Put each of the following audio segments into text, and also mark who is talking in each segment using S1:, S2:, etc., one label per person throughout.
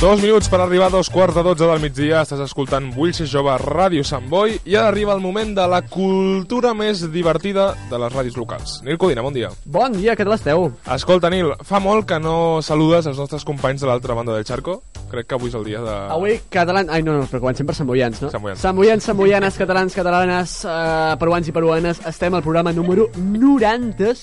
S1: Dos minuts per arribar a dos quarts de dotze del migdia. Estàs escoltant Vull ser jove, Ràdio Sant Boi. I ara arriba el moment de la cultura més divertida de les ràdios locals. Nil Codina, bon dia.
S2: Bon dia, què tal esteu?
S1: Escolta, Nil, fa molt que no saludes els nostres companys de l'altra banda del xarco. Crec que avui és el dia de...
S2: Avui catalans... Ai, no, no, però comencem per samboians, no?
S1: Samboians.
S2: Samboians, samboianes, catalans, catalanes, eh, peruans i peruanes. Estem al programa número 96.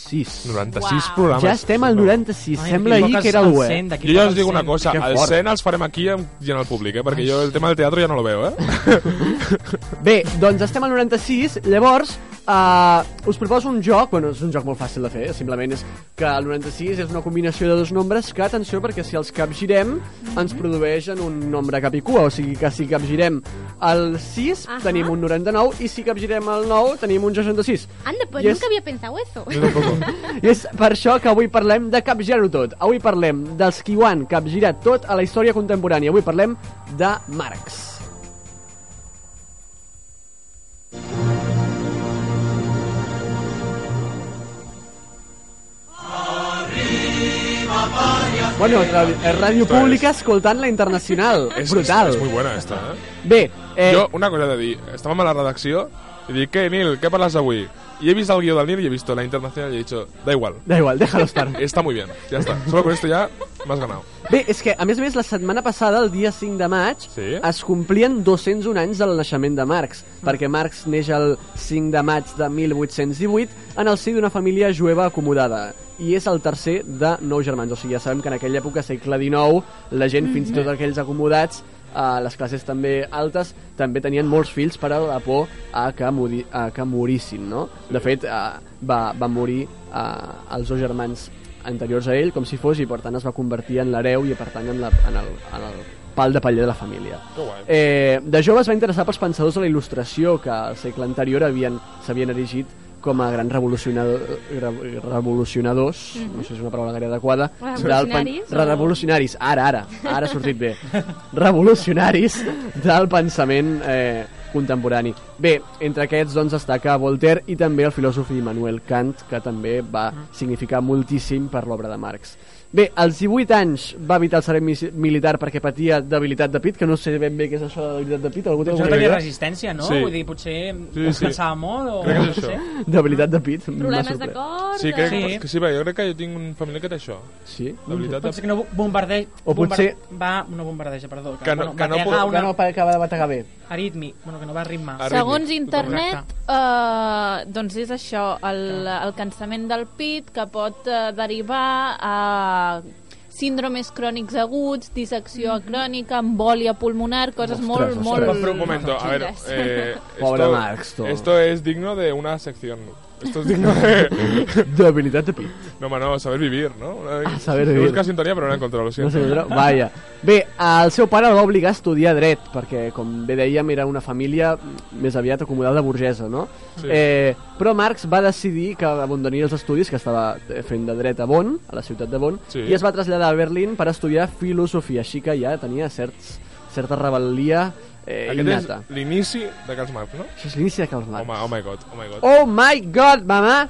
S1: 96
S3: Uau.
S1: programes.
S2: Ja estem al 96.
S3: Ai,
S2: Sembla ahir
S3: equivoques
S2: que era eh? el
S3: el
S2: web.
S3: cent, d'aquí
S1: Jo ja
S3: poc
S1: us
S3: el
S1: dic una
S3: cent.
S1: cosa,
S2: Que
S1: el
S2: fort.
S1: cent els farem aquí amb- i en el públic, eh? perquè jo el tema del teatre ja no lo veo, eh?
S2: Bé, doncs estem al 96, llavors uh, us proposo un joc, bueno, és un joc molt fàcil de fer, simplement és que el 96 és una combinació de dos nombres que, atenció, perquè si els capgirem ens produeixen un nombre cap i cua, o sigui que si capgirem el 6
S3: Ajà.
S2: tenim un 99 i si capgirem el 9 tenim un 66.
S3: Anda, pues
S2: Yes.
S3: nunca había pensado eso.
S1: Jo tampoc.
S2: I és per això que avui parlem de capgirar-ho tot. Avui parlem dels qui ho han capgirat tot a la història contemporània. Avui parlem de Marx. Bueno, és la és ràdio pública escoltant la internacional.
S1: És,
S2: brutal.
S1: És, és muy buena, esta, eh?
S2: Bé, eh,
S1: Jo, una cosa he de dir, estàvem a la redacció i dic, què, Nil, què parles avui? I he vist el guió del Nil i he vist la internacional i he dicho, da igual,
S2: da igual, déjalo estar.
S1: está muy bien, ya está. Solo con esto ya m'has ganado.
S2: Bé, és que, a més a més, la setmana passada, el dia 5 de maig,
S1: Sí?
S2: es complien 201 anys del naixement de Marx, perquè Marx neix el 5 de maig de 1818 en el si d'una família jueva acomodada i és el tercer de nou germans. O sigui, ja sabem que en aquella època, segle XIX, la gent, fins i tot aquells acomodats, eh, les classes també altes, també tenien molts fills per a la por a que, mori, a que morissin, no? De fet, eh, va, va morir eh, els dos germans anteriors a ell, com si fos, i per tant es va convertir en l'hereu i per tant en, la, en, el, en el pal de paller de la família.
S1: Que guai.
S2: Eh, de jove es va interessar pels pensadors de la il·lustració que al segle anterior havien s'havien erigit com a grans revolucionador, re- revolucionadors, no sé si és una paraula gaire adequada, del pen-
S3: Mm-hmm. Revolucionaris,
S2: re-
S3: o-
S2: revolucionaris, ara, ara, ara ha sortit bé, revolucionaris del pensament eh, contemporani. Bé, entre aquests doncs destaca Voltaire i també el filòsof Immanuel Kant, que també va
S3: Mm.
S2: significar moltíssim per l'obra de Marx. Bé, als 18 anys va evitar el servei mis- militar perquè patia debilitat de pit, que no sé ben bé què és això de debilitat de pit, algú té
S4: Això
S2: alguna
S4: tenia
S2: idea?
S4: resistència, no?
S1: Sí.
S4: Vull dir, potser
S1: Sí,
S4: sí,
S1: sí.
S4: sí. pensava molt o...
S1: Crec que és
S4: no sé.
S1: això.
S2: Debilitat de pit? m'ha
S3: Problemes de
S2: sorprès.
S3: cor...
S1: Sí, crec
S4: Sí.
S1: que sí, però jo crec que jo tinc un familiar que té això,
S2: Sí?
S1: la veritat.
S4: Potser que no bombardeja...
S2: O potser-
S4: Va, no bombardeja, perdó.
S1: Que no- que no
S4: batega
S1: pot-
S4: una
S2: Que no acaba de bategar bé.
S4: aritmi. Bueno, que no va a ritme.
S1: Ar-
S5: Segons
S1: Rítmic,
S5: internet, eh, doncs és això, el, el cansament del pit que pot eh, derivar a síndromes crònics aguts, dissecció crònica, embòlia pulmonar, coses
S2: Ostres,
S5: molt,
S2: ostres.
S5: molt...
S1: Pero, pero Em un momento, a ver,
S5: xungues.
S1: eh,
S2: Pobre
S1: esto,
S2: Max, tú.
S1: esto es digno de una sección. Esto es digno de...
S2: Debilitat de pit.
S1: No, mano, saber vivir, ¿no?
S2: Ah, saber vivir.
S1: Busca sintonía, pero no la he encontrado, lo
S2: No
S1: siento.
S2: sé, però, vaja. Bé, el seu pare el va obligar a estudiar dret, perquè, com bé dèiem, era una família més aviat acomodada burgesa, no?
S1: Sí.
S2: Eh, però Marx va decidir que abandonaria els estudis, que estava eh, fent de dret a Bonn, a la ciutat de Bonn,
S1: Sí.
S2: i es va traslladar a Berlín per estudiar filosofia, així que ja tenia certs, certa rebel·lia eh,
S1: Aquest és
S2: innata.
S1: l'inici de Carls Marx, no?
S2: Això és l'inici de Karl
S1: Oh
S2: Marx.
S1: my, oh my god, oh my god.
S2: Oh my god, mamà!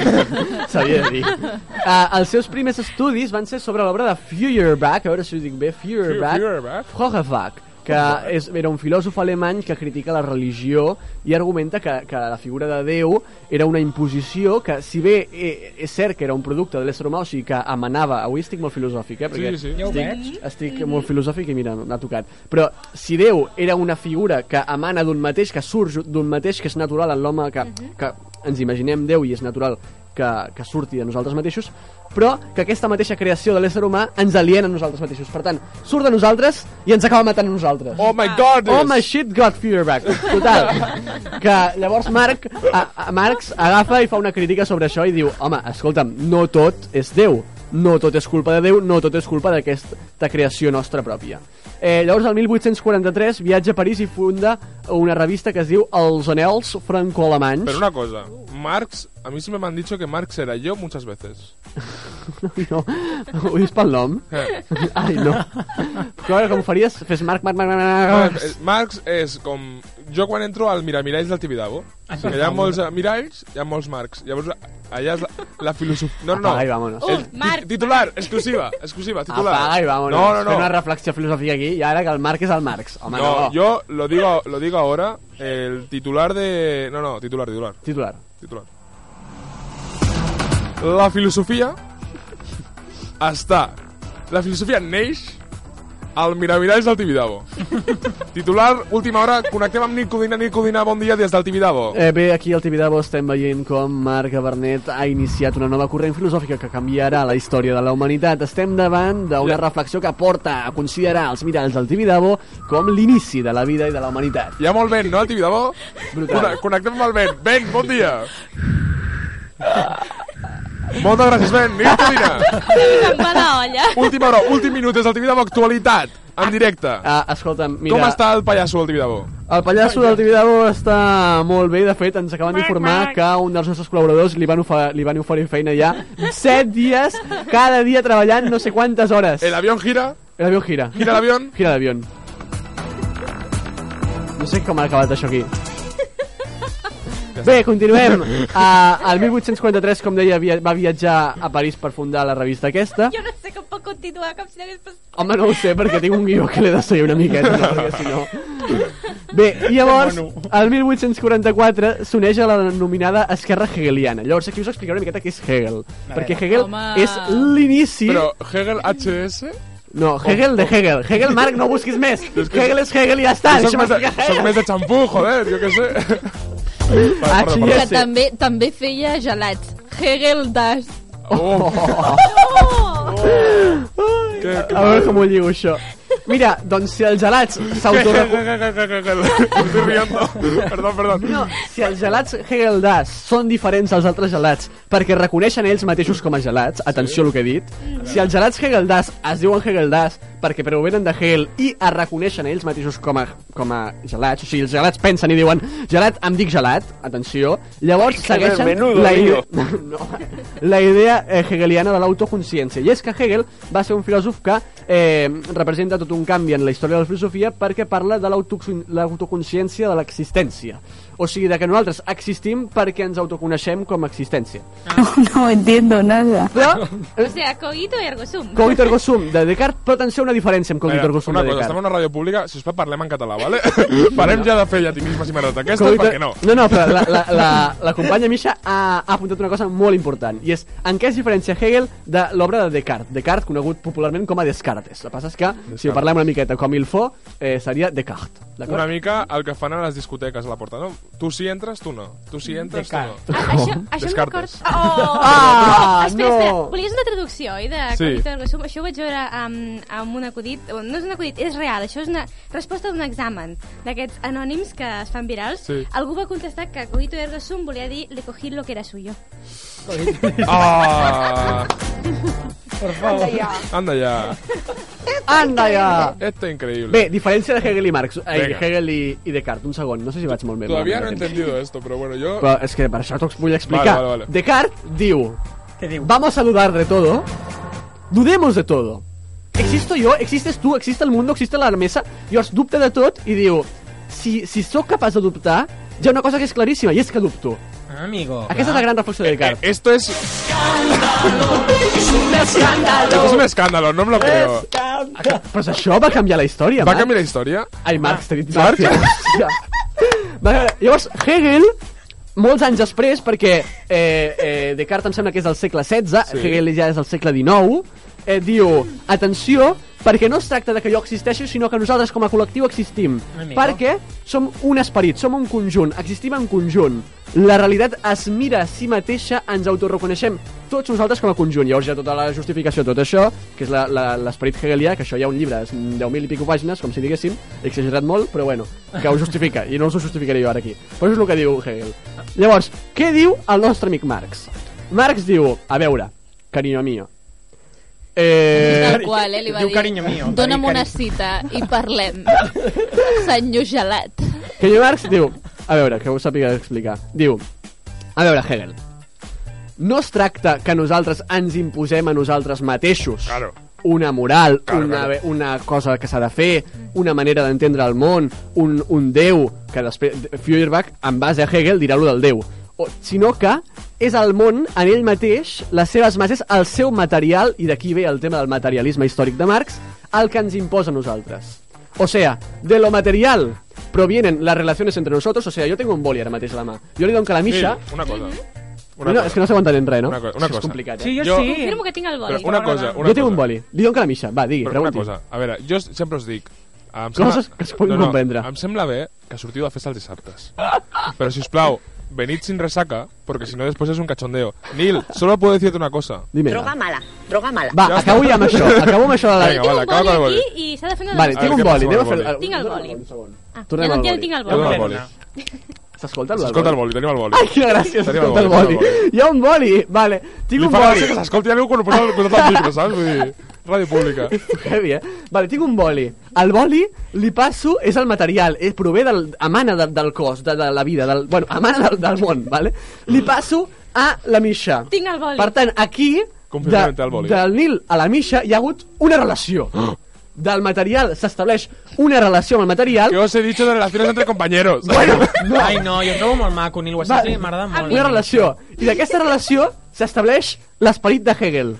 S2: S'havia de dir. Uh, els seus primers estudis van ser sobre l'obra de Feuerbach, a veure si ho dic bé,
S1: Feuerbach?
S2: Feuerbach, Feuerbach que és, era un filòsof alemany que critica la religió i argumenta que, que la figura de Déu era una imposició que, si bé eh, és cert que era un producte de l'ésser humà, o sigui que emanava... Avui estic molt filosòfic, eh? Perquè
S1: Sí, sí, sí.
S4: Ja ho veig.
S2: estic, estic molt filosòfic i mira, m'ha tocat. Però si Déu era una figura que emana d'un mateix, que surge d'un mateix, que és natural en l'home, que, que ens imaginem Déu i és natural que, que surti de nosaltres mateixos, però que aquesta mateixa creació de l'ésser humà ens aliena a nosaltres mateixos. Per tant, surt de nosaltres i ens acaba matant a nosaltres.
S1: Oh my god!
S2: Oh my shit got fearback. Total. Que llavors Marc, a, a Marx agafa i fa una crítica sobre això i diu, home, escolta'm, no tot és Déu. No tot és culpa de Déu, no tot és culpa d'aquesta creació nostra pròpia. Eh, llavors, el 1843, viatja a París i funda una revista que es diu Els Anels Franco-Alemanys.
S1: Pero una cosa, Marx, a mí siempre me han dicho que Marx era yo muchas veces.
S2: No, ho dius pel nom?
S4: Ah,
S1: Eh, eh,
S2: Ai, no. Però a veure, com ho faries? Fes Marc, Marc, Marc, Marc, Marc.
S1: Marx es con jo quan entro al miramiralls del Tibidabo,
S4: Ah, sí.
S1: que hi ha molts eh, miralls, hi ha molts marcs. Llavors, allà és la, la filosofia... No, no,
S2: Apaga i
S1: no.
S2: vámonos.
S5: Uh,
S1: El ti-
S5: Marc.
S1: titular, exclusiva, exclusiva, titular.
S2: Apaga i vámonos.
S1: No, no,
S2: Fent una
S1: no.
S2: reflexió filosòfica aquí, i ara que el Marc és el Marx. Home, no,
S1: No, yo lo digo, lo digo ahora, el titular de... No, no, titular, titular,
S2: Titular.
S1: titular. La filosofia està... La filosofia neix al Miramiralls del Tibidabo. titular, última hora, connectem amb Nicodina, Nicodina, bon dia des del Tibidabo.
S2: Eh, bé, aquí al Tibidabo estem veient com Marc Bernet ha iniciat una nova corrent filosòfica que canviarà la història de la humanitat. Estem davant d'una
S1: Ja.
S2: reflexió que porta a considerar els miralls del Tibidabo com l'inici de la vida i de la humanitat.
S1: Hi ha molt vent, no, al Tibidabo?
S2: Brutal.
S1: Conne- Connectem amb el vent. Vent, bon dia. Moltes gràcies, vent. Nicodina.
S5: Se'm va d'olla.
S1: Última hora, últim minut des del Tibidabo, actualitat, en directe.
S2: Ah, escolta'm, mira...
S1: Com està el pallasso del Tibidabo?
S2: El pallasso del Tibidabo està molt bé, de fet ens acaben d'informar que un dels nostres col·laboradors li van, ofe- li van oferir feina ja 7 dies, cada dia treballant no sé quantes hores.
S1: El avión gira,
S2: L'avió gira.
S1: gira el avión.
S2: Gira l'avió. No sé com ha acabat això aquí. Bé, continuem. Uh, el 1843, com deia, via va viatjar a París per fundar la revista aquesta.
S5: Jo no sé com pot continuar com si n'hagués passat.
S2: Home, no ho sé, perquè tinc un guió que l'he de seguir una miqueta, no? perquè si no... Bé, i llavors, el 1844 s'uneix a la denominada Esquerra Hegeliana. Llavors, aquí us explicaré una miqueta què és Hegel. Perquè Hegel
S5: Home.
S2: és l'inici...
S1: Però Hegel HS...
S2: No, Hegel de Hegel. Hegel, Marc, no busquis més. Hegel és Hegel i ja està.
S1: Soc
S2: Deixa'm
S1: més, de,
S2: explicar
S1: soc
S2: Hegel.
S1: més de xampú, joder, jo què sé.
S2: Ah,
S1: Perdó,
S2: sí,
S1: perdó.
S5: Que
S2: ja sé.
S5: també, també feia gelats. Hegel das.
S1: Oh,
S5: Oh!
S1: que, que
S2: A veure com ho lligo, això. Mira, doncs si els gelats s'autoreconeixen...
S1: Estoy riendo. Perdón, perdón.
S2: No, si els gelats Hegel Das són diferents als altres gelats perquè reconeixen ells mateixos com a gelats, atenció al que he dit, si els gelats Hegel Das es diuen Hegel Das perquè provenen de Hegel i es reconeixen ells mateixos com a, com a gelats, o sigui, els gelats pensen i diuen gelat, em dic gelat, atenció, llavors segueixen
S3: menudo
S2: la, ide
S3: lío.
S2: no, la idea eh, hegeliana de l'autoconsciència. I és que Hegel va ser un filòsof que eh, representa tot un canvi en la història de la filosofia perquè parla de l'autocon- l'autoconsciència de l'existència. O sigui, de que nosaltres existim perquè ens autoconeixem com a existència.
S6: No entiendo nada.
S2: Però,
S5: O sea, cogito i ergo sum.
S2: Cogito ergo sum de Descartes, però atenció a una diferència amb Cogito
S1: Mira,
S2: ergo sum
S1: una
S2: de
S1: cosa, estem a
S2: Descartes.
S1: una ràdio pública, si us plau, parlem en català, vale? Parem ja de fer llatinismes i merdes d'aquestes, perquè no.
S2: no, no, però la, la, la, la companya Misha ha, ha apuntat una cosa molt important i és en què es diferencia Hegel de l'obra de Descartes Descartes conegut popularment com a Descartes el que passa és que si ho parlem una miqueta com il fo eh, seria Descartes d'acord?
S1: Una mica el que fan a les discoteques a la porta, no? Tu si entres, tu no. Tu si entres, tu no.
S5: Ah, això, això em record...
S1: Descartes.
S5: Oh!
S2: Ah,
S7: espera, espera,
S2: no.
S7: volies una traducció, oi, de
S1: Sí.
S7: Cogito ergo sum? Això ho vaig veure amb, amb un acudit, o no és un acudit, és real, això és una resposta d'un examen d'aquests anònims que es fan virals.
S1: Sí.
S7: Algú va contestar que Cogito ergo sum volia dir le cogí lo que era suyo.
S1: Ah!
S4: Por favor.
S1: Anda ja.
S2: Anda ja!
S1: Esto es increíble.
S2: Bé, diferència de Hegel i Marx ai,
S1: Vinga.
S2: Hegel i, i Descartes, un segon, no sé si vaig molt bé
S1: Todavía no he
S2: malament.
S1: entendido esto, pero bueno, yo...
S2: però és que per això t'ho vull explicar
S1: Vale, vale, vale.
S2: Descartes diu
S4: Què diu?
S2: Vamos a dudar de todo. Dudemos de todo. Existo jo, existes tu, existe el mundo, existe la mesa. Llavors dubta de tot i diu... Si, si sóc capaç de dubtar, hi ha una cosa que és claríssima, i és que dubto.
S4: Ah, amigo.
S2: Aquesta és la gran reflexió de
S1: Eh,
S2: Descartes.
S1: esto es... Esto es un escándalo, no me lo creo.
S2: Però és això va canviar la història,
S1: eh. ¿Va a
S2: Marc.
S1: cambiar la historia?
S2: Ai, Marx, t'he dit
S1: Marx.
S2: Marx. Hòstia. Va, llavors, Hegel, molts anys després, perquè eh, eh, Descartes em sembla que és del segle XVI,
S1: Sí.
S2: sí. Hegel ja és del segle XIX, eh, diu, atenció, perquè no es tracta de que jo existeixo, sinó que nosaltres com a col·lectiu existim.
S4: Amigo.
S2: Perquè som un esperit, som un conjunt, existim en conjunt. La realitat es mira a si mateixa, ens autorreconeixem tots nosaltres com a conjunt. Llavors hi ha tota la justificació, tot això, que és la- la- l'esperit hegelià, que això hi ha un llibre, és 10.000 i pico pàgines, com si diguéssim, he exagerat molt, però bueno, que ho justifica, i no us ho justificaré jo ara aquí. Però això és el que diu Hegel. Llavors, què diu el nostre amic Marx? Marx diu, a veure, carinyo mio, eh,
S5: Tal qual, eh, li va
S4: Diu
S5: dir.
S4: carinyo mío.
S5: Dóna'm
S4: Va dir
S5: una
S4: cari-
S5: cita i parlem. Senyor gelat.
S2: Kenny Marx diu... A veure, que ho sàpiga explicar. Diu... A veure, Hegel. No es tracta que nosaltres ens imposem a nosaltres mateixos.
S1: Claro.
S2: una moral,
S1: Claro,
S2: una,
S1: claro.
S2: una cosa que s'ha de fer, una manera d'entendre el món, un, un déu, que després Feuerbach, en base a Hegel, dirà lo del déu, o, sinó que és el món en ell mateix, les seves masses, el seu material, i d'aquí ve el tema del materialisme històric de Marx, el que ens imposa a nosaltres. O sea, de lo material provienen las relaciones entre nosotros, o sea, yo tengo un boli ara mateix a la mà, jo li dono calamisha,
S1: Mira, una cosa. Una
S2: no, no,
S1: cosa.
S2: és que no s'aguantarem res, no?
S1: Una cosa- una
S2: Això
S1: cosa.
S2: És complicat, eh?
S4: Sí, jo,
S1: Jo-
S4: sí.
S5: Confirmo que tinc el boli.
S1: Però una cosa, una
S2: jo tinc
S1: cosa.
S2: un boli, li dono calamisha, va, digui,
S1: Però una
S2: pregunti.
S1: cosa, a veure, jo sempre us dic... Em
S2: Coses que es puguin comprendre.
S1: Em sembla bé que sortiu de festa els dissabtes. Però, si us plau, venid sin resaca, porque si no després és un cachondeo. Nil, solo puedo decirte una cosa.
S2: Dime.
S3: Droga mala, droga mala.
S2: Va,
S1: Ja està.
S2: acabo ja amb això, acabo amb això de la...
S1: Vinga, vale,
S7: Tinc un
S1: acaba
S7: boli
S1: amb el
S7: aquí
S1: boli.
S7: i s'ha de fer una
S2: Vale, tinc un boli, anem a fer...
S1: boli.
S7: Tinc el boli.
S2: Un segon.
S7: Ah,
S2: Tornem
S7: ja no,
S2: al
S7: ja no
S2: boli.
S7: tinc el
S1: Jo
S7: boli.
S1: dono el boli.
S2: S'escolta el boli?
S1: S'escolta el boli, tenim el boli.
S2: Ai, quina gràcia,
S1: Tenim el
S2: s'escolta el
S1: boli,
S2: boli.
S1: tenim el boli.
S2: Hi ha un boli, vale. Tinc
S1: Li
S2: un
S1: fa gràcia que
S2: boli.
S1: s'escolti a ningú quan ho posa al costat del micro, saps? Vull dir, ràdio pública.
S2: Heavy, eh? Vale, tinc un boli. El boli, li passo, és el material, és, prové del, emana de, del cos, de, de la vida, del, bueno, emana del, del món, vale? Li passo a la misha.
S7: Tinc el boli.
S2: Per tant, aquí,
S1: Confirmem el boli.
S2: del Nil a la misha, hi ha hagut una relació. Del material s'estableix una relació amb el material
S1: Que os he dicho de relaciones entre compañeros.
S2: Bueno, no.
S4: Ai, no, jo el trobo molt maco, Neil
S2: Va,
S4: Wasatli, m'agrada molt.
S2: una relació. I d'aquesta relació s'estableix l'esperit de Hegel.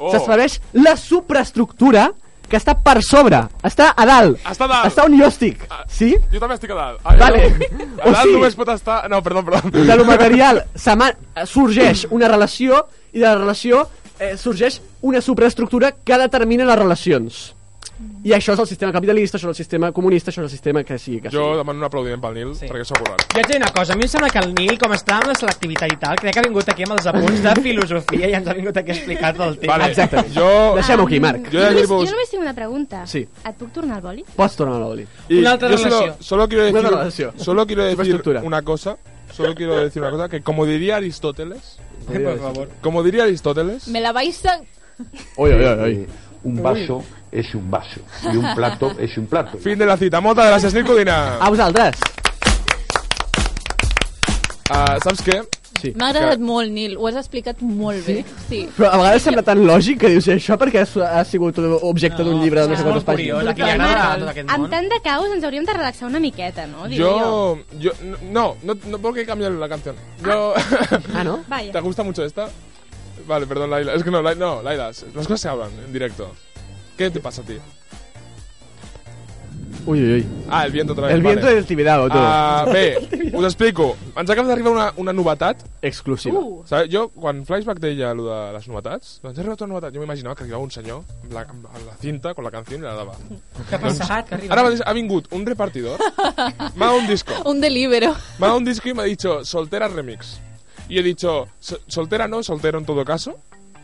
S1: Oh.
S2: S'estableix la supraestructura que està per sobre, està a dalt.
S1: Està a dalt.
S2: Està on jo estic, sí?
S1: Jo també estic a dalt. Ai,
S2: Vale.
S1: no. A
S2: O
S1: dalt
S2: sigui-
S1: només pot estar... No, perdó, perdó.
S2: De lo material s'ema- sorgeix una relació i de la relació eh, sorgeix una supraestructura que determina les relacions. I això és el sistema capitalista, això és el sistema comunista, això és el sistema que sigui que sigui.
S1: Jo demano un aplaudiment pel Nil,
S4: Sí.
S1: perquè s'ho ha currat.
S4: Jo et diré una cosa, a mi em sembla que el Nil, com està amb la selectivitat i tal, crec que ha vingut aquí amb els apunts de filosofia i ens ha vingut aquí a explicar tot el tema.
S1: Vale,
S2: Exactament.
S1: jo...
S2: Deixem-ho
S4: Ah.
S2: aquí, Marc.
S1: Jo
S7: Jo
S1: ja
S7: només,
S1: dir-vos-
S7: jo només tinc una pregunta.
S2: Sí.
S7: Et puc tornar el boli?
S2: Pots tornar a l'oli.
S1: Y
S4: Una otra
S1: yo solo-
S4: relación.
S1: Solo, quiero
S2: Una
S1: decir,
S2: otra relación.
S1: Solo quiero decir
S2: Superestructura.
S1: una cosa. Solo quiero decir una cosa que como diría Aristóteles,
S4: Per favor.
S1: como diría Aristóteles,
S5: Me la vais a...
S2: Oi, oi, oi, oi.
S8: Eh, Un vaso es un vaso y un plato es un plato.
S1: fin de la cita. Moltes gràcies, Nil Codina.
S2: A vosaltres.
S1: Uh, saps què?
S2: Sí.
S5: M'ha agradat molt, Nil. Ho has explicat molt bé. Sí.
S2: Però a vegades sembla tan lògic que dius això perquè ha, ha sigut objecte d'un llibre de no sé
S4: és
S2: quantes
S4: molt
S2: pàgines.
S4: curiós, aquí li agrada tot aquest
S7: Amb
S4: món.
S7: tant de caos ens hauríem de relaxar una miqueta, no? Diré
S1: Yo, yo, no, no, no porque cambiar la canción. Yo,
S2: Ah, no?
S7: Vaya.
S1: ¿Te gusta mucho esta? Vale, perdón, Laila. Es que no, Laila, no, Laila, las cosas se hablan en directo. ¿Qué te pasa a ti?
S2: Ui, ui, ui.
S1: Ah, el viento otra vez.
S2: El viento
S1: vale.
S2: del Tibidabo, tu.
S1: Ah, bé, us explico. Ens acaba d'arribar una, una novetat
S2: Exclusiva.
S4: Uh.
S7: Uh,
S1: Sabe, jo, quan Flashback deia allò de les novetats, doncs ha arribat una novetat. Jo m'imaginava que arribava un senyor amb la, amb la cinta, amb la canció i la dava.
S4: Què ha passat? Que arriba?
S1: Ara mateix ha vingut un repartidor, m'ha dado un disco,
S5: Un delibero.
S1: m'ha dado un disco i m'ha dit Soltera Remix. Y he dicho, "So- soltera no, soltero en todo caso,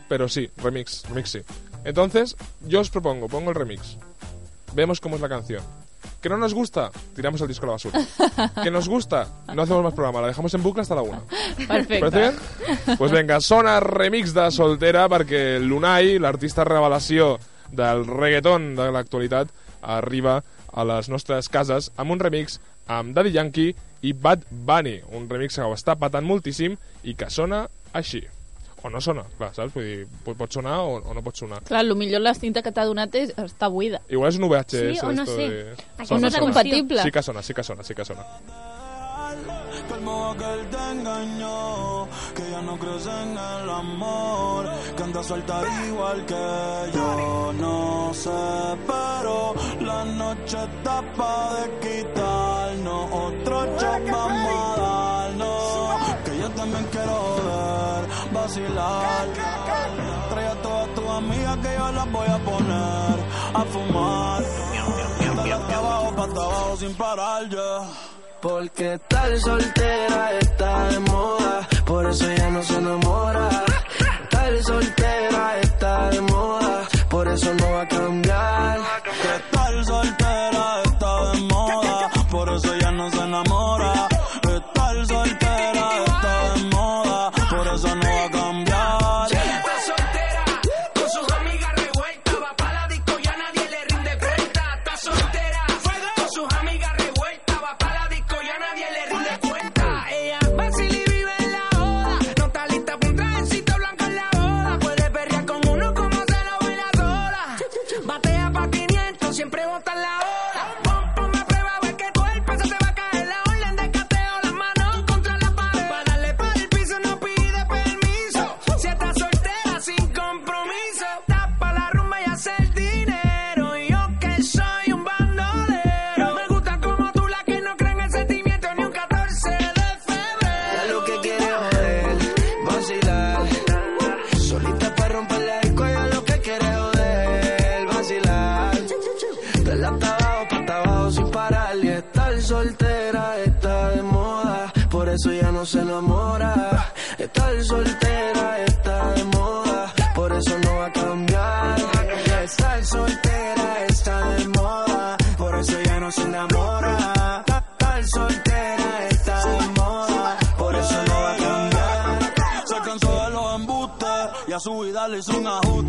S1: pero sí, remix, remix sí. Entonces, yo os propongo, pongo el remix. Vemos cómo es la canción. Que no nos gusta, tiramos el disco a la basura. Que nos gusta, no hacemos más programa, la dejamos en bucle hasta la una. Parece
S5: Perfecte.
S1: bé? pues vinga, sona remix de Soltera perquè l'Unai, l'artista revelació del reggaeton de l'actualitat, arriba a les nostres cases amb un remix amb Daddy Yankee i Bad Bunny, un remix que ho està patant moltíssim i que sona així. O no sona, clar, saps? Vull dir, pot, pot sonar o, o no pot sonar.
S5: Clar, lo millor la cinta que t'ha donat és, està buida.
S1: Igual és un VHS.
S7: Sí, o no
S1: esto
S7: sé.
S1: de-
S7: Aquí
S1: Sona,
S5: no és
S1: sona.
S5: compatible.
S1: Sí que sona, sí que sona, sí que sona.
S9: Palmo aquel te engañó, que ya no crees en el amor, que anda suelta igual que yo. No sé, pero la noche está pa' de quitarnos. Otro shot vamos a darnos, que yo también quiero ver, vacilar. Trae a todas tus amigas que yo las voy a poner a fumar. Dale hasta abajo, pa' hasta abajo sin parar, yeah.
S10: Porque tal soltera está de moda, por eso ya no se enamora. Tal soltera está de moda, por eso no va a cambiar.
S9: Que tal soltera está de moda, por eso ya no se enamora. Que tal soltera está de moda, por eso no va a cambiar.
S10: Está soltera, con sus amigas revueltas, va pa' la disco y a nadie le rinde cuenta. Está soltera, con sus amigas revueltas, va pa' la disco y a nadie le rinde cuenta. eso ya no se enamora. Estar soltera está de moda, por eso no va a cambiar.
S9: Estar soltera está de moda, por eso ya no se enamora. Estar soltera está de moda, por eso no va a cambiar. Se cansó de los embustes y a su vida le hizo un ajuste.